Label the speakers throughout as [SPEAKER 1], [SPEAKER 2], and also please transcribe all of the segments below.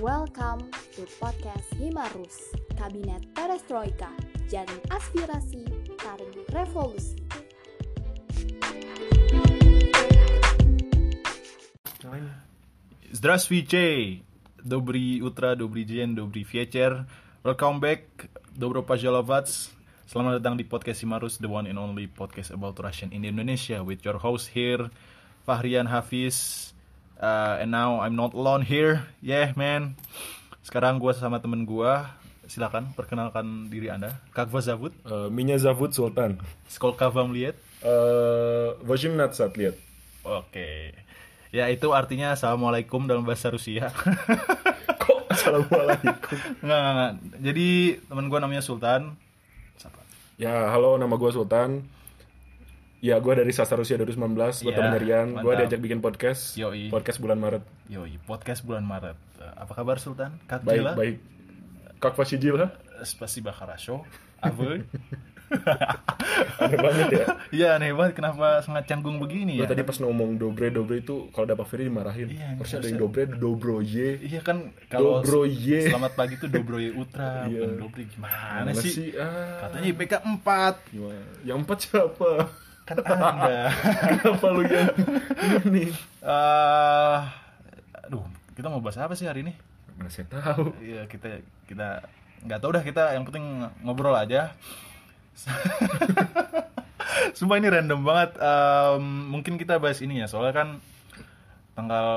[SPEAKER 1] Welcome to podcast Himarus, Kabinet Perestroika, jaring aspirasi, taring revolusi.
[SPEAKER 2] Здравствуйте! Доброе утро, добрый день, добрый вечер. Welcome back, dobro pajalovat. Selamat datang di podcast Simarus, the one and only podcast about Russian in Indonesia with your host here, Fahrian Hafiz. Uh, and now I'm not alone here. Yeah, man. Sekarang gua sama temen gua. Silakan perkenalkan diri Anda. Kakva Zavut,
[SPEAKER 3] Э, Меня зовут Султан.
[SPEAKER 2] Skolka Vam Liet.
[SPEAKER 3] Э, 18 лет.
[SPEAKER 2] Oke. Ya itu artinya Assalamualaikum dalam bahasa Rusia.
[SPEAKER 3] Kok Assalamualaikum.
[SPEAKER 2] Nggak, nggak, nggak. Jadi teman gue namanya Sultan. Siapa?
[SPEAKER 3] Ya, halo nama gue Sultan. Ya, gue dari Sastra Rusia 2019, gue
[SPEAKER 2] Iya,
[SPEAKER 3] temen Rian. Gue
[SPEAKER 2] mantap.
[SPEAKER 3] diajak bikin podcast,
[SPEAKER 2] Yoi.
[SPEAKER 3] podcast bulan Maret.
[SPEAKER 2] Yoi, podcast bulan Maret. Eh, Apa kabar Sultan? Kak
[SPEAKER 3] Baik,
[SPEAKER 2] Jela?
[SPEAKER 3] baik. Kak Fasijila,
[SPEAKER 2] Spasiba Harasho. Ave.
[SPEAKER 3] aneh banget ya.
[SPEAKER 2] Iya aneh banget kenapa sangat canggung
[SPEAKER 3] Lo
[SPEAKER 2] begini ya.
[SPEAKER 3] tadi pas ngomong dobre dobre itu kalau dapat Ferry dimarahin.
[SPEAKER 2] Iya,
[SPEAKER 3] harus
[SPEAKER 2] harusnya.
[SPEAKER 3] ada yang dobre dobro ye.
[SPEAKER 2] Iya kan kalau
[SPEAKER 3] Dobroye.
[SPEAKER 2] selamat pagi tuh Dobroye Utra,
[SPEAKER 3] Iya.
[SPEAKER 2] bukan Dobri gimana
[SPEAKER 3] Mana
[SPEAKER 2] sih?
[SPEAKER 3] Ah,
[SPEAKER 2] Katanya IPK 4
[SPEAKER 3] gimana? Yang empat siapa?
[SPEAKER 2] kan Anda.
[SPEAKER 3] Kenapa lu yang ini?
[SPEAKER 2] Eh, aduh, kita mau bahas apa sih hari ini?
[SPEAKER 3] Mana saya tahu.
[SPEAKER 2] Iya kita kita nggak tahu dah kita yang penting ngobrol aja. Sumpah ini random banget. Em, mungkin kita bahas ini ya soalnya kan tanggal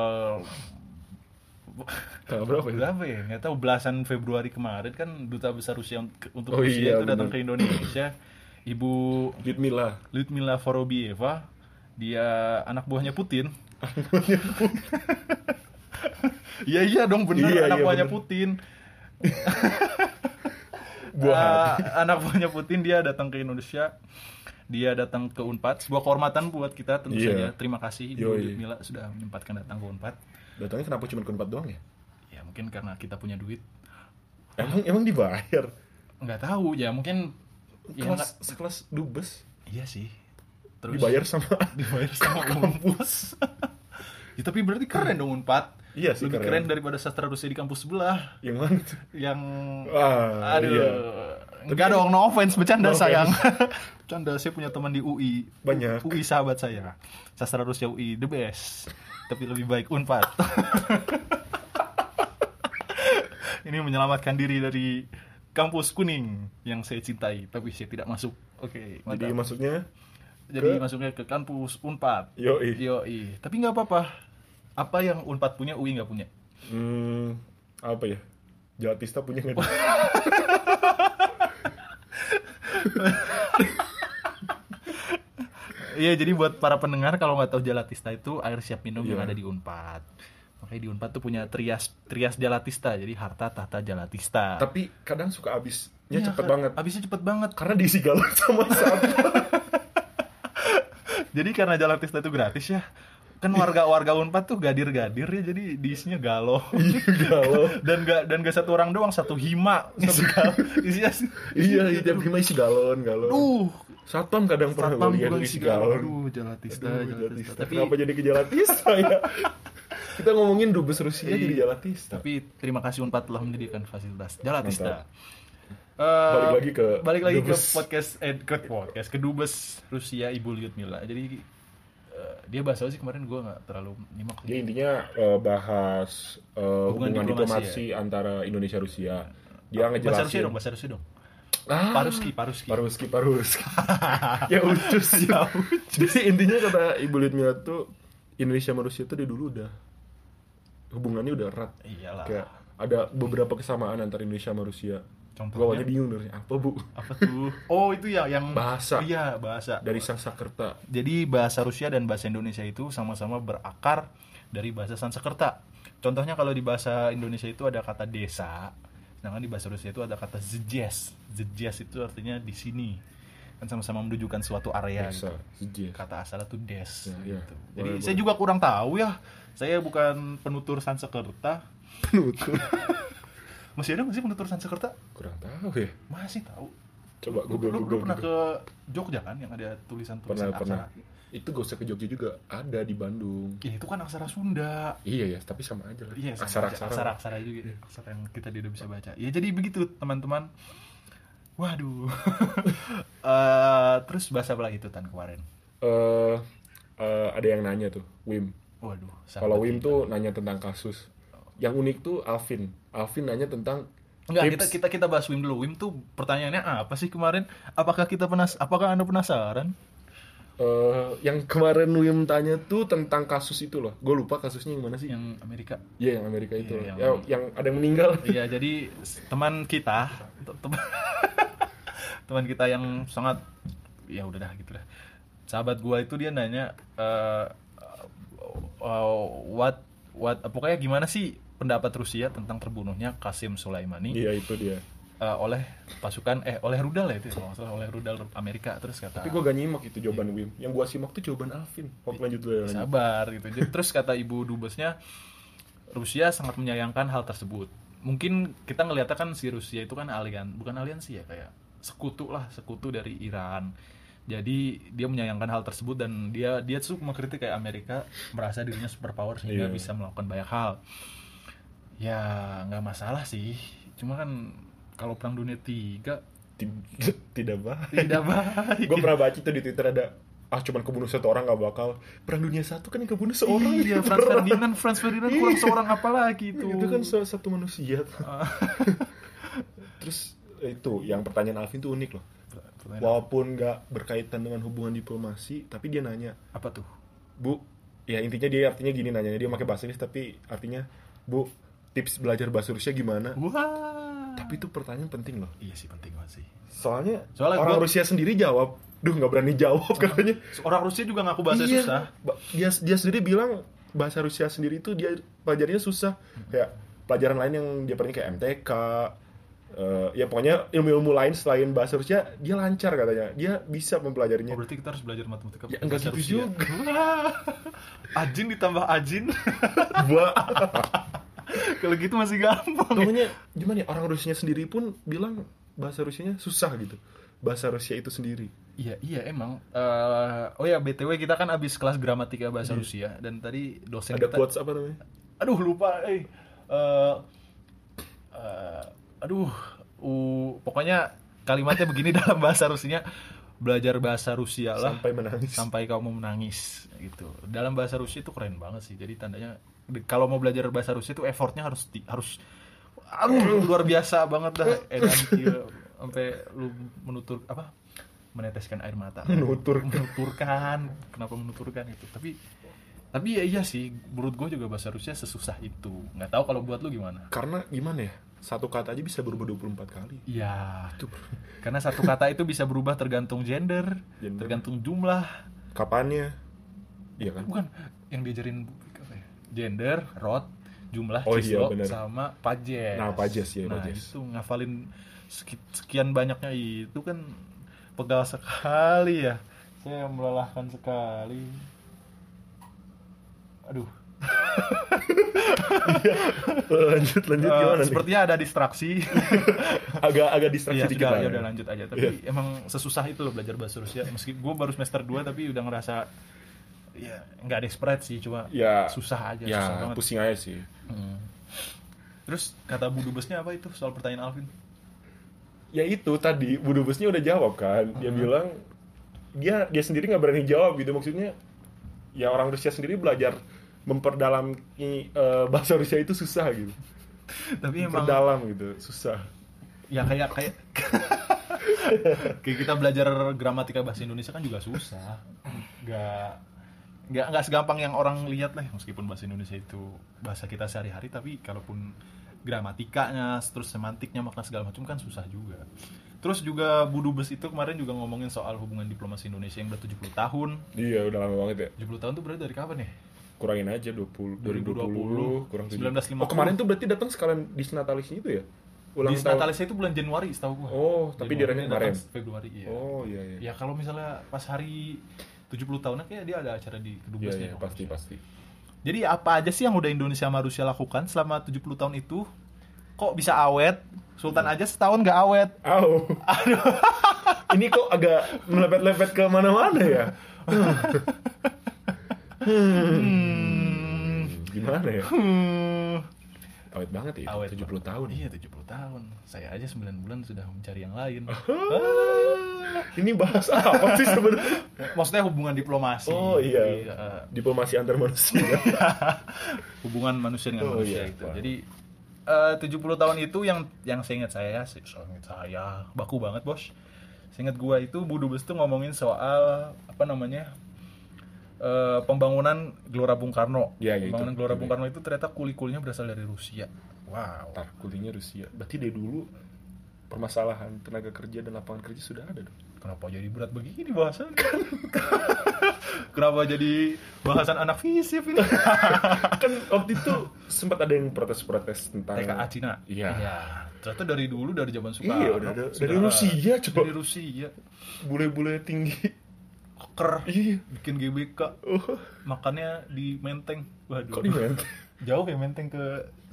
[SPEAKER 3] Tanggal berapa itu?
[SPEAKER 2] Berapa ya? Nggak tahu belasan Februari kemarin kan duta besar Rusia untuk- untuk
[SPEAKER 3] Oh
[SPEAKER 2] Rusia
[SPEAKER 3] iya,
[SPEAKER 2] itu datang
[SPEAKER 3] bener.
[SPEAKER 2] ke Indonesia. Ibu
[SPEAKER 3] Lyudmila.
[SPEAKER 2] Lyudmila Vorobieva, dia anak buahnya Putin. Iya iya dong bener
[SPEAKER 3] Iya,
[SPEAKER 2] anak
[SPEAKER 3] iya,
[SPEAKER 2] buahnya
[SPEAKER 3] bener.
[SPEAKER 2] Putin.
[SPEAKER 3] Buah.
[SPEAKER 2] Ah, anak buahnya Putin dia datang ke Indonesia. Dia datang ke Unpad, sebuah kehormatan buat kita tentu
[SPEAKER 3] Iya.
[SPEAKER 2] saja. Terima kasih Ibu
[SPEAKER 3] Yoi.
[SPEAKER 2] Lyudmila sudah menyempatkan datang ke Unpad.
[SPEAKER 3] Datangnya kenapa cuma ke Unpad doang ya?
[SPEAKER 2] Ya mungkin karena kita punya duit.
[SPEAKER 3] Emang emang dibayar.
[SPEAKER 2] Nggak tahu ya mungkin ya, nggak-
[SPEAKER 3] Kelas sekelas dubes
[SPEAKER 2] iya sih. Terus
[SPEAKER 3] dibayar sama
[SPEAKER 2] dibayar sama kampus. ya, tapi berarti keren dong Unpad.
[SPEAKER 3] Iya sih,
[SPEAKER 2] Lebih
[SPEAKER 3] keren.
[SPEAKER 2] keren. daripada sastra Rusia di kampus sebelah
[SPEAKER 3] yang mana tuh?
[SPEAKER 2] yang
[SPEAKER 3] Ah,
[SPEAKER 2] aduh.
[SPEAKER 3] iya.
[SPEAKER 2] Enggak dong, no offense, bercanda
[SPEAKER 3] No offense.
[SPEAKER 2] sayang. bercanda saya punya teman di UI.
[SPEAKER 3] Banyak.
[SPEAKER 2] UI sahabat saya. Sastra Rusia UI the best. Tapi lebih baik Unpad. Ini menyelamatkan diri dari kampus kuning yang saya cintai, tapi saya tidak masuk.
[SPEAKER 3] Jadi
[SPEAKER 2] Oke, mantap.
[SPEAKER 3] maksudnya ke-
[SPEAKER 2] Jadi masuknya ke kampus Unpad.
[SPEAKER 3] yoi.
[SPEAKER 2] Yoi. Tapi nggak apa-apa. Apa yang Unpad punya UI nggak punya?
[SPEAKER 3] Hmm, apa ya? Jatista punya nggak?
[SPEAKER 2] Iya, jadi buat para pendengar kalau nggak tahu Jalatista itu air siap minum yang
[SPEAKER 3] Iya.
[SPEAKER 2] ada di Unpad. Makanya di Unpad tuh punya trias trias Jalatista, jadi harta tahta Jalatista.
[SPEAKER 3] Tapi kadang suka habisnya
[SPEAKER 2] Iya,
[SPEAKER 3] ya, cepet
[SPEAKER 2] Kak.
[SPEAKER 3] banget.
[SPEAKER 2] Habisnya cepet banget.
[SPEAKER 3] Karena diisi galon sama sapi.
[SPEAKER 2] Jadi karena Jalatista itu gratis ya, kan warga-warga Unpad tuh gadir-gadir ya, jadi diisinya galo.
[SPEAKER 3] Iya. galon.
[SPEAKER 2] dan gak dan gak satu orang doang, satu hima, satu galo. Isinya
[SPEAKER 3] Iya, iya, tiap lima isi galon, galon.
[SPEAKER 2] Duh,
[SPEAKER 3] Satpam kadang pernah
[SPEAKER 2] satpam
[SPEAKER 3] gue lihat
[SPEAKER 2] juga
[SPEAKER 3] isi
[SPEAKER 2] isi galo.
[SPEAKER 3] galon.
[SPEAKER 2] Aduh, Jalatista,
[SPEAKER 3] Aduh,
[SPEAKER 2] Jalatista.
[SPEAKER 3] Jalatista.
[SPEAKER 2] Tapi
[SPEAKER 3] Kenapa jadi ke Jalatista ya? Kita ngomongin dubes Rusia jadi
[SPEAKER 2] Iya.
[SPEAKER 3] Jalatista.
[SPEAKER 2] Tapi terima kasih Unpad telah menyediakan fasilitas Jalatista.
[SPEAKER 3] Mantap.
[SPEAKER 2] Eh,
[SPEAKER 3] Balik lagi ke
[SPEAKER 2] balik lagi ke
[SPEAKER 3] Dubes.
[SPEAKER 2] podcast eh, ke podcast ke dubes Rusia Ibu Lyudmila. Jadi eh, dia bahasa apa sih kemarin gue nggak terlalu nyimak.
[SPEAKER 3] Dia intinya eh, bahas eh, hubungan,
[SPEAKER 2] Hubungan diplomasi ya? Oh,
[SPEAKER 3] diplomasi antara Indonesia Rusia. Dia
[SPEAKER 2] bahasa Rusia
[SPEAKER 3] ngejelasin.
[SPEAKER 2] dong, bahasa Rusia dong.
[SPEAKER 3] Ah,
[SPEAKER 2] Paruski, Paruski.
[SPEAKER 3] Paruski, Paruski. ya ucus. ya Jadi intinya kata Ibu Lyudmila tuh Indonesia sama Rusia tuh dari dulu udah hubungannya udah erat.
[SPEAKER 2] Iyalah.
[SPEAKER 3] Kayak ada beberapa kesamaan antara Indonesia sama Rusia.
[SPEAKER 2] Contohnya?
[SPEAKER 3] Gua awalnya bingung dari apa bu?
[SPEAKER 2] Apa tuh? Oh itu ya yang
[SPEAKER 3] Bahasa.
[SPEAKER 2] Iya bahasa.
[SPEAKER 3] Dari Sanskerta.
[SPEAKER 2] Jadi bahasa Rusia dan bahasa Indonesia itu sama-sama berakar dari bahasa Sanskerta. Contohnya kalau di bahasa Indonesia itu ada kata desa, sedangkan di bahasa Rusia itu ada kata zjes. Zjes itu artinya di sini. Kan sama-sama menunjukkan suatu area.
[SPEAKER 3] Desa,
[SPEAKER 2] gitu.
[SPEAKER 3] zjes.
[SPEAKER 2] Kata asalnya itu des.
[SPEAKER 3] Ya, iya.
[SPEAKER 2] gitu.
[SPEAKER 3] Boleh,
[SPEAKER 2] Jadi
[SPEAKER 3] boleh.
[SPEAKER 2] saya juga kurang tahu ya. Saya bukan penutur Sanskerta.
[SPEAKER 3] Penutup.
[SPEAKER 2] Masih ada nggak sih penutur Sanskerta?
[SPEAKER 3] Kurang tahu ya.
[SPEAKER 2] Masih tahu.
[SPEAKER 3] Coba
[SPEAKER 2] Lu,
[SPEAKER 3] Google
[SPEAKER 2] lu- lu
[SPEAKER 3] Google.
[SPEAKER 2] pernah
[SPEAKER 3] Google.
[SPEAKER 2] ke Jogja kan yang ada tulisan-tulisan
[SPEAKER 3] Pernah, pernah.
[SPEAKER 2] aksara?
[SPEAKER 3] Itu gak usah ke Jogja juga, ada di Bandung.
[SPEAKER 2] Ya, itu kan aksara Sunda.
[SPEAKER 3] Iya ya, tapi sama aja lah.
[SPEAKER 2] Iya, sama
[SPEAKER 3] aksara,
[SPEAKER 2] aja.
[SPEAKER 3] aksara. Iya.
[SPEAKER 2] aksara-aksara juga. Aksara yang kita tidak bisa baca. Ya jadi begitu teman-teman. Waduh. Eh, terus bahasa apa lagi tuh Tan kemarin?
[SPEAKER 3] Eh, eh, ada yang nanya tuh, Wim.
[SPEAKER 2] Waduh. sahabat
[SPEAKER 3] Kalau Wim
[SPEAKER 2] kita.
[SPEAKER 3] tuh nanya tentang kasus. Yang unik tuh Alvin. Alvin nanya tentang
[SPEAKER 2] Enggak,
[SPEAKER 3] tips.
[SPEAKER 2] kita kita kita bahas Wim dulu. Wim tuh pertanyaannya apa sih kemarin? Apakah kita penas apakah Anda penasaran?
[SPEAKER 3] eh, yang kemarin Wim tanya tuh tentang kasus itu loh. Gue lupa kasusnya yang mana sih?
[SPEAKER 2] Yang Amerika.
[SPEAKER 3] Iya yang Amerika itu. loh.
[SPEAKER 2] Iya, yang-
[SPEAKER 3] Ya, yang ada yang meninggal.
[SPEAKER 2] Iya, jadi s- teman kita te- teman teman kita yang sangat ya udah dah gitu dah. Sahabat gua itu dia nanya eh eh, what what pokoknya gimana sih pendapat Rusia tentang terbunuhnya Kasim Sulaimani
[SPEAKER 3] Iya itu dia.
[SPEAKER 2] eh, oleh pasukan eh oleh rudal ya itu ya, kalau nggak salah oleh rudal Amerika terus kata
[SPEAKER 3] Tapi gue gak nyimak itu
[SPEAKER 2] Iya.
[SPEAKER 3] jawaban Wim. Yang gue simak tuh jawaban Alvin. Oke lanjut dulu ya. lanjut.
[SPEAKER 2] sabar gitu. Jadi, terus kata ibu dubesnya Rusia sangat menyayangkan hal tersebut. Mungkin kita ngeliatnya kan si Rusia itu kan alian, bukan aliansi ya kayak sekutu lah, sekutu dari Iran. Jadi dia menyayangkan hal tersebut dan dia dia tuh mengkritik kayak Amerika merasa dirinya superpower
[SPEAKER 3] Iya.
[SPEAKER 2] sehingga bisa melakukan banyak hal. Ya nggak masalah sih. Cuma kan kalau perang dunia tiga
[SPEAKER 3] Tid- Tidak baik.
[SPEAKER 2] tidak baik.
[SPEAKER 3] Gue pernah baca tuh di Twitter ada ah cuman kebunuh satu orang gak bakal perang dunia satu kan yang kebunuh seorang
[SPEAKER 2] Iya, Franz Ferdinand, Franz Ferdinand kurang seorang apalagi itu.
[SPEAKER 3] itu kan sa- satu manusia
[SPEAKER 2] Ah.
[SPEAKER 3] terus itu yang pertanyaan Alvin tuh unik loh
[SPEAKER 2] Pertanyaan
[SPEAKER 3] walaupun nggak berkaitan dengan hubungan diplomasi tapi dia nanya
[SPEAKER 2] apa tuh?
[SPEAKER 3] bu ya intinya dia artinya gini nanya dia pakai bahasa Inggris tapi artinya bu tips belajar bahasa Rusia gimana
[SPEAKER 2] Wah.
[SPEAKER 3] tapi itu pertanyaan penting loh
[SPEAKER 2] Iya sih penting banget sih.
[SPEAKER 3] soalnya,
[SPEAKER 2] Soalnya
[SPEAKER 3] orang
[SPEAKER 2] gua-
[SPEAKER 3] Rusia sendiri jawab duh nggak berani jawab katanya
[SPEAKER 2] Orang Rusia juga ngaku bahasa
[SPEAKER 3] Iya.
[SPEAKER 2] susah.
[SPEAKER 3] Ba- Dia dia sendiri bilang bahasa Rusia sendiri itu dia pelajarannya susah. Kayak pelajaran lain yang dia pernah kayak MTK. eh, ya pokoknya ilmu-ilmu lain selain bahasa Rusia dia lancar katanya. Dia bisa
[SPEAKER 2] Oh,
[SPEAKER 3] mempelajarinya.
[SPEAKER 2] berarti kita harus belajar matematika.
[SPEAKER 3] Ya,
[SPEAKER 2] pakai
[SPEAKER 3] enggak
[SPEAKER 2] bahasa
[SPEAKER 3] gitu
[SPEAKER 2] Rusia. Wah. ajin ditambah ajin.
[SPEAKER 3] Gua
[SPEAKER 2] Kalau gitu masih gampang.
[SPEAKER 3] pokoknya gimana ya orang Rusianya sendiri pun bilang bahasa Rusianya susah gitu. Bahasa Rusia itu sendiri.
[SPEAKER 2] Iya, iya emang. Eh, oh ya, BTW kita kan abis kelas gramatika bahasa Rusia dan tadi dosen
[SPEAKER 3] Iya. Ada
[SPEAKER 2] kita
[SPEAKER 3] quotes apa namanya?
[SPEAKER 2] aduh lupa eh Eh, eh, aduh u- pokoknya kalimatnya begini dalam bahasa Rusinya belajar bahasa Rusia lah
[SPEAKER 3] Sampai menangis.
[SPEAKER 2] Ah, sampai kamu menangis gitu dalam bahasa Rusia itu keren banget sih jadi tandanya di- kalau mau belajar bahasa Rusia itu effortnya harus di- harus aduh luar biasa banget dah edan gila. sampai lu menutur apa meneteskan air mata
[SPEAKER 3] Menuturkan.
[SPEAKER 2] menuturkan kenapa menuturkan itu tapi tapi ya iya sih menurut gue juga bahasa Rusia sesusah itu nggak tahu kalau buat lu gimana
[SPEAKER 3] Karena gimana ya? Satu kata aja bisa berubah 24 kali.
[SPEAKER 2] ya
[SPEAKER 3] Itu
[SPEAKER 2] karena satu kata itu bisa berubah tergantung gender,
[SPEAKER 3] Gender.
[SPEAKER 2] tergantung jumlah
[SPEAKER 3] kapannya? Iya kan?
[SPEAKER 2] bukan yang diajarin apa ya? gender rot jumlah
[SPEAKER 3] Oh iya,
[SPEAKER 2] cislo
[SPEAKER 3] bener.
[SPEAKER 2] sama pajes
[SPEAKER 3] Nah, pajes, iya,
[SPEAKER 2] nah
[SPEAKER 3] pajes.
[SPEAKER 2] itu ngafalin seki- sekian banyaknya itu kan pegal sekali ya saya melelahkan sekali aduh
[SPEAKER 3] lanjut lanjut
[SPEAKER 2] Eh,
[SPEAKER 3] gimana nih?
[SPEAKER 2] sepertinya ada distraksi
[SPEAKER 3] agak agak distraksi
[SPEAKER 2] Iya,
[SPEAKER 3] dikit
[SPEAKER 2] udah,
[SPEAKER 3] lah
[SPEAKER 2] ya
[SPEAKER 3] ya.
[SPEAKER 2] udah lanjut aja. Tapi emang sesusah itu loh belajar bahasa Rusia. Meski gue baru semester 2 tapi udah ngerasa ya nggak desperate sih cuma
[SPEAKER 3] Ya.
[SPEAKER 2] susah aja,
[SPEAKER 3] ya
[SPEAKER 2] susah banget.
[SPEAKER 3] pusing aja sih
[SPEAKER 2] Mm. Terus kata Bu Dubesnya apa itu soal pertanyaan Alvin?
[SPEAKER 3] ya itu tadi Bu Dubesnya udah jawab kan dia
[SPEAKER 2] Hmm.
[SPEAKER 3] bilang dia dia sendiri nggak berani jawab gitu maksudnya ya orang Rusia sendiri belajar memperdalam bahasa Rusia itu susah gitu
[SPEAKER 2] Tapi emang
[SPEAKER 3] memperdalam gitu susah
[SPEAKER 2] ya kayak kayak kayak kita belajar gramatika bahasa Indonesia kan juga susah. Nggak nggak nggak segampang yang orang lihat lah meskipun bahasa Indonesia itu bahasa kita sehari-hari tapi kalaupun gramatikanya terus semantiknya makna segala macam kan susah juga terus juga Bu Dubes itu kemarin juga ngomongin soal hubungan diplomasi Indonesia yang udah 70 tahun
[SPEAKER 3] iya udah lama banget ya
[SPEAKER 2] 70 tahun tuh berarti dari kapan ya?
[SPEAKER 3] kurangin aja 20 2020,
[SPEAKER 2] 2020,
[SPEAKER 3] kurang
[SPEAKER 2] 1950.
[SPEAKER 3] oh kemarin tuh berarti datang sekalian disnatalis itu ya ulang
[SPEAKER 2] Di
[SPEAKER 3] tahun
[SPEAKER 2] Natalisnya itu bulan Januari setahu gua.
[SPEAKER 3] Oh, tapi
[SPEAKER 2] Januari
[SPEAKER 3] dirayain kemarin.
[SPEAKER 2] datang Februari iya.
[SPEAKER 3] oh iya iya
[SPEAKER 2] Ya kalau misalnya pas hari 70 tahunan kayak dia ada acara di gitu.
[SPEAKER 3] iya,
[SPEAKER 2] kedubesnya.
[SPEAKER 3] iya,
[SPEAKER 2] kalau
[SPEAKER 3] pasti
[SPEAKER 2] nggak salah.
[SPEAKER 3] pasti
[SPEAKER 2] Jadi apa aja sih yang udah Indonesia sama Rusia lakukan selama 70 tahun itu? kok bisa awet? Sultan
[SPEAKER 3] Iya.
[SPEAKER 2] aja setahun nggak awet.
[SPEAKER 3] Au.
[SPEAKER 2] Aduh.
[SPEAKER 3] Ini kok agak melepet-lepet ke mana-mana ya?
[SPEAKER 2] Hmm.
[SPEAKER 3] Gimana ya?
[SPEAKER 2] Hmm.
[SPEAKER 3] Awet banget ya,
[SPEAKER 2] Awet
[SPEAKER 3] 70
[SPEAKER 2] banget.
[SPEAKER 3] tahun.
[SPEAKER 2] Iya, 70 tahun. Saya aja 9 bulan sudah mencari yang lain.
[SPEAKER 3] Ini bahas apa sih sebenarnya?
[SPEAKER 2] Maksudnya hubungan diplomasi.
[SPEAKER 3] Oh iya.
[SPEAKER 2] Jadi, eh,
[SPEAKER 3] Diplomasi antar manusia.
[SPEAKER 2] hubungan manusia
[SPEAKER 3] Oh,
[SPEAKER 2] dengan
[SPEAKER 3] iya,
[SPEAKER 2] manusia gitu.
[SPEAKER 3] Pak.
[SPEAKER 2] Jadi eh, 70 tahun itu yang yang seingat saya, se- seingat saya baku banget, Bos. Seingat gua itu Bu Dubes tuh ngomongin soal apa namanya? eh, pembangunan Gelora Bung Karno.
[SPEAKER 3] Iya, iya, itu.
[SPEAKER 2] pembangunan Gelora
[SPEAKER 3] Iya.
[SPEAKER 2] Bung Karno itu ternyata kulikulnya berasal dari Rusia. Wow.
[SPEAKER 3] Ntar kulinya Rusia. Berarti dari dulu permasalahan tenaga kerja dan lapangan kerja sudah ada dong.
[SPEAKER 2] Kenapa jadi berat begini bahasan? Kenapa jadi bahasan anak fisip ini?
[SPEAKER 3] kan waktu itu sempat ada yang protes-protes tentang
[SPEAKER 2] TKA Cina.
[SPEAKER 3] Iya.
[SPEAKER 2] Ternyata dari dulu dari zaman Soekarno.
[SPEAKER 3] Iya, udah ada. Dari
[SPEAKER 2] sudah-
[SPEAKER 3] Rusia coba
[SPEAKER 2] Dari Rusia.
[SPEAKER 3] bule-bule tinggi.
[SPEAKER 2] Koker.
[SPEAKER 3] Iya.
[SPEAKER 2] Bikin GBK.
[SPEAKER 3] Oh,
[SPEAKER 2] Makannya di Menteng. Waduh.
[SPEAKER 3] kok di Menteng?
[SPEAKER 2] Jauh ya Menteng ke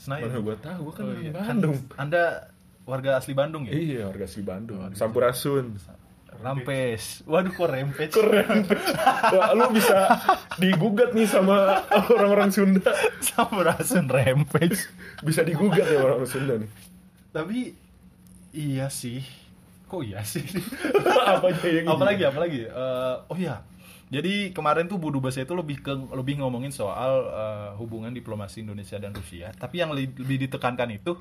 [SPEAKER 2] Senayan.
[SPEAKER 3] Iya. Mana gua tahu, gua kan
[SPEAKER 2] Oh,
[SPEAKER 3] orang
[SPEAKER 2] iya.
[SPEAKER 3] Bandung.
[SPEAKER 2] Kan Anda warga asli Bandung ya?
[SPEAKER 3] Iya, warga asli Bandung.
[SPEAKER 2] Warga
[SPEAKER 3] Sampurasun.
[SPEAKER 2] Rampes. Waduh kok rempes.
[SPEAKER 3] Keren. Wah, lu bisa digugat nih sama orang-orang Sunda.
[SPEAKER 2] Sampurasun rempes.
[SPEAKER 3] Bisa digugat ya orang-orang Sunda nih.
[SPEAKER 2] Tapi iya sih. Kok iya sih?
[SPEAKER 3] Apa aja yang ini?
[SPEAKER 2] apalagi apalagi Eh, oh ya jadi kemarin tuh Bu Dubes itu lebih ke lebih ngomongin soal eh, hubungan diplomasi Indonesia dan Rusia tapi yang li- lebih ditekankan itu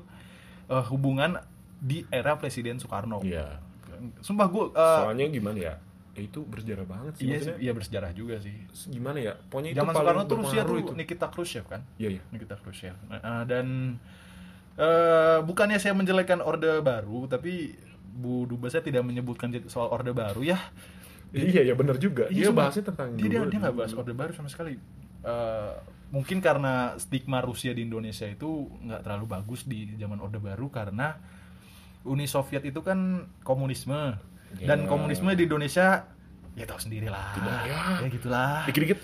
[SPEAKER 2] eh, hubungan di era Presiden Soekarno
[SPEAKER 3] Iya.
[SPEAKER 2] sumpah gue
[SPEAKER 3] Soalnya gimana ya? Ya itu bersejarah banget sih.
[SPEAKER 2] Eh, iya sih,
[SPEAKER 3] Maksudnya,
[SPEAKER 2] iya bersejarah juga sih
[SPEAKER 3] gimana ya? Pokoknya itu
[SPEAKER 2] zaman
[SPEAKER 3] paling
[SPEAKER 2] Soekarno tuh Rusia
[SPEAKER 3] berpengaruh
[SPEAKER 2] tuh
[SPEAKER 3] itu.
[SPEAKER 2] Nikita Khrushchev kan
[SPEAKER 3] Iya, iya.
[SPEAKER 2] Nikita Khrushchev. Nah, eh, dan eh, bukannya saya menjelekkan Orde Baru, tapi Bu Dubes saya tidak menyebutkan j- soal Orde Baru ya.
[SPEAKER 3] Iya, iya benar juga. Dia
[SPEAKER 2] sumpah.
[SPEAKER 3] bahasnya tentang
[SPEAKER 2] dia dia,
[SPEAKER 3] dulu,
[SPEAKER 2] dia nggak
[SPEAKER 3] dulu.
[SPEAKER 2] bahas Orde Baru sama sekali. Eh, mungkin karena stigma Rusia di Indonesia itu nggak terlalu bagus di zaman Orde Baru karena Uni Soviet itu kan komunisme
[SPEAKER 3] Iya.
[SPEAKER 2] dan komunisme di Indonesia ya tahu sendirilah
[SPEAKER 3] Tidak, ya.
[SPEAKER 2] ya gitulah
[SPEAKER 3] Dikit-dikit.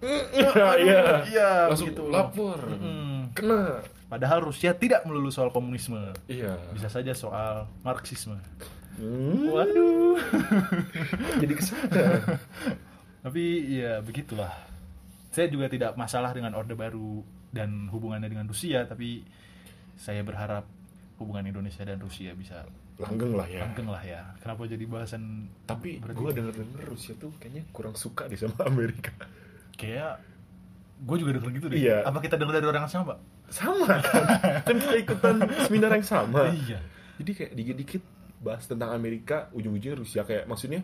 [SPEAKER 3] Iya.
[SPEAKER 2] iya,
[SPEAKER 3] Langsung
[SPEAKER 2] begitu.
[SPEAKER 3] lapor.
[SPEAKER 2] Mm-mm.
[SPEAKER 3] Kena.
[SPEAKER 2] Padahal Rusia tidak melulu soal komunisme.
[SPEAKER 3] Iya.
[SPEAKER 2] Bisa saja soal marxisme.
[SPEAKER 3] Hmm,
[SPEAKER 2] Waduh.
[SPEAKER 3] jadi kesana.
[SPEAKER 2] Tapi ya begitulah. Saya juga tidak masalah dengan Orde Baru dan hubungannya dengan Rusia, tapi saya berharap hubungan Indonesia dan Rusia bisa
[SPEAKER 3] Langgeng lah ya.
[SPEAKER 2] langgeng lah ya. Kenapa jadi bahasan
[SPEAKER 3] Tapi
[SPEAKER 2] Berarti- gitu.
[SPEAKER 3] gue denger-denger Rusia ya tuh kayaknya kurang suka deh sama Amerika.
[SPEAKER 2] kayak gue juga denger gitu deh.
[SPEAKER 3] Iya.
[SPEAKER 2] Apa kita denger dari orang yang sama?
[SPEAKER 3] Sama kan? kan kita ikutan seminar yang sama.
[SPEAKER 2] Iya.
[SPEAKER 3] Jadi kayak dikit-dikit bahas tentang Amerika, ujung-ujungnya Rusia kayak maksudnya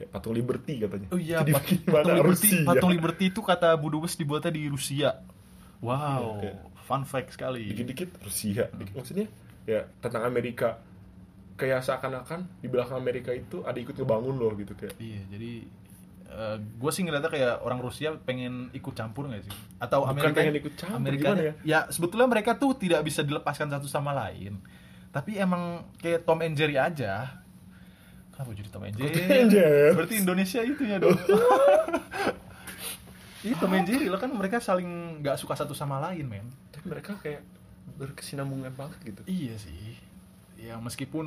[SPEAKER 3] kayak patung Liberty katanya.
[SPEAKER 2] Oh iya,
[SPEAKER 3] Jadi
[SPEAKER 2] pat-
[SPEAKER 3] gimana
[SPEAKER 2] patung Liberty,
[SPEAKER 3] Rusia?
[SPEAKER 2] patung Liberty itu kata Bu Dubes dibuatnya di Rusia. Wow,
[SPEAKER 3] Iya, iya.
[SPEAKER 2] fun fact sekali.
[SPEAKER 3] Dikit-dikit Rusia. Dikit- Maksudnya ya tentang Amerika kayak seakan-akan di belakang Amerika itu ada ikut ngebangun loh gitu kayak.
[SPEAKER 2] Iya, jadi gue sih ngeliatnya kayak orang Rusia pengen ikut campur nggak sih? Atau
[SPEAKER 3] Bukan
[SPEAKER 2] Amerika
[SPEAKER 3] pengen ikut campur,
[SPEAKER 2] Amerika
[SPEAKER 3] gimana
[SPEAKER 2] ya? sebetulnya mereka tuh tidak bisa dilepaskan satu sama lain. Tapi emang kayak Tom and Jerry aja. Kenapa jadi Tom and Jerry?
[SPEAKER 3] Tom and Jerry.
[SPEAKER 2] Berarti Indonesia itu ya dong. Iya Tom and Jerry lah kan mereka saling nggak suka satu sama lain men.
[SPEAKER 3] Tapi mereka kayak berkesinambungan banget gitu.
[SPEAKER 2] Iya sih. Ya meskipun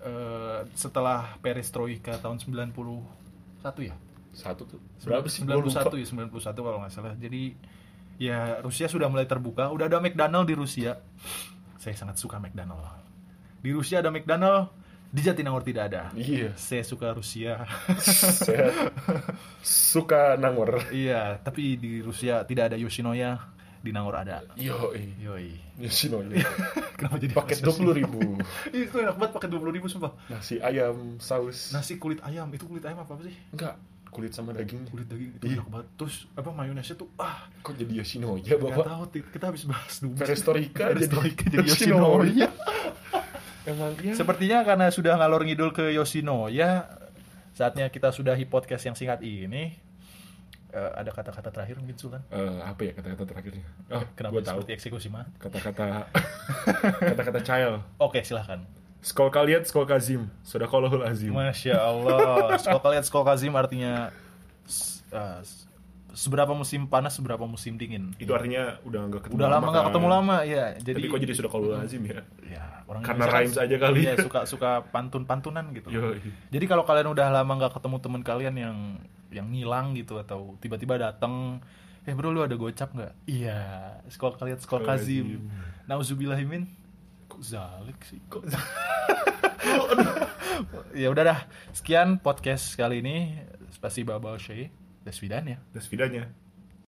[SPEAKER 2] eh, setelah Perestroika tahun 91 ya.
[SPEAKER 3] Satu tuh. Berapa sih? Gua
[SPEAKER 2] 91
[SPEAKER 3] lupa.
[SPEAKER 2] ya 91 kalau nggak salah jadi ya Rusia sudah mulai terbuka udah ada McDonald di Rusia saya sangat suka McDonald di Rusia ada McDonald di Jatinangor tidak ada
[SPEAKER 3] Iya.
[SPEAKER 2] saya suka Rusia
[SPEAKER 3] Saya suka nangor.
[SPEAKER 2] iya tapi di Rusia tidak ada Yoshinoya di Nangor ada
[SPEAKER 3] Yo,
[SPEAKER 2] yoi Iya.
[SPEAKER 3] Yoshinoya.
[SPEAKER 2] kenapa jadi
[SPEAKER 3] Paket
[SPEAKER 2] Yoshinoya?
[SPEAKER 3] dua puluh ribu.
[SPEAKER 2] Ih, itu enak banget paket 20 ribu sumpah
[SPEAKER 3] Nasi ayam saus.
[SPEAKER 2] nasi kulit ayam itu kulit ayam apa, -apa sih
[SPEAKER 3] Enggak, kulit sama daging.
[SPEAKER 2] kulit daging
[SPEAKER 3] Iya.
[SPEAKER 2] itu enak banget terus apa mayonesnya tuh ah
[SPEAKER 3] Kok jadi Yoshinoya,
[SPEAKER 2] nggak
[SPEAKER 3] Bapak?
[SPEAKER 2] tahu Tit. kita habis bahas dulu
[SPEAKER 3] Perestroika jadi-
[SPEAKER 2] Perestroika jadi
[SPEAKER 3] Yoshinoya.
[SPEAKER 2] Yoshinoya
[SPEAKER 3] Emang dia
[SPEAKER 2] Sepertinya karena sudah ngalor ngidul ke Yoshinoya, saatnya kita sudahi podcast yang singkat ini. Eh, ada kata-kata terakhir mungkin Sultan?
[SPEAKER 3] Eh, apa ya kata-kata terakhirnya? Oh,
[SPEAKER 2] Kenapa
[SPEAKER 3] gua tahu.
[SPEAKER 2] seperti eksekusi mati?
[SPEAKER 3] Kata-kata kata-kata child.
[SPEAKER 2] Oke, silahkan.
[SPEAKER 3] Skol kalian, skol kazim. Sudah azim.
[SPEAKER 2] Masya Allah. Sekolah kalian sekolah Kazim artinya s- eh, s- seberapa musim panas seberapa musim dingin
[SPEAKER 3] Itu artinya udah nggak ketemu
[SPEAKER 2] udah lama nggak
[SPEAKER 3] kan.
[SPEAKER 2] ketemu lama ya jadi
[SPEAKER 3] Tapi kok jadi sudah kalau lazim ya?
[SPEAKER 2] ya orang
[SPEAKER 3] Karena
[SPEAKER 2] Indonesia kan
[SPEAKER 3] rhymes aja kali.
[SPEAKER 2] iya, suka suka pantun pantunan gitu
[SPEAKER 3] Yoi.
[SPEAKER 2] jadi kalau kalian udah lama nggak ketemu teman kalian yang yang ngilang gitu atau tiba-tiba datang eh bro lu ada gocap nggak iya sekolah kalian sekolah kazim nauzubillahimin kok zalik sih kok zalik? ya udah dah sekian podcast kali ini spasi babal syai Desvidan ya
[SPEAKER 3] Dan sepedanya.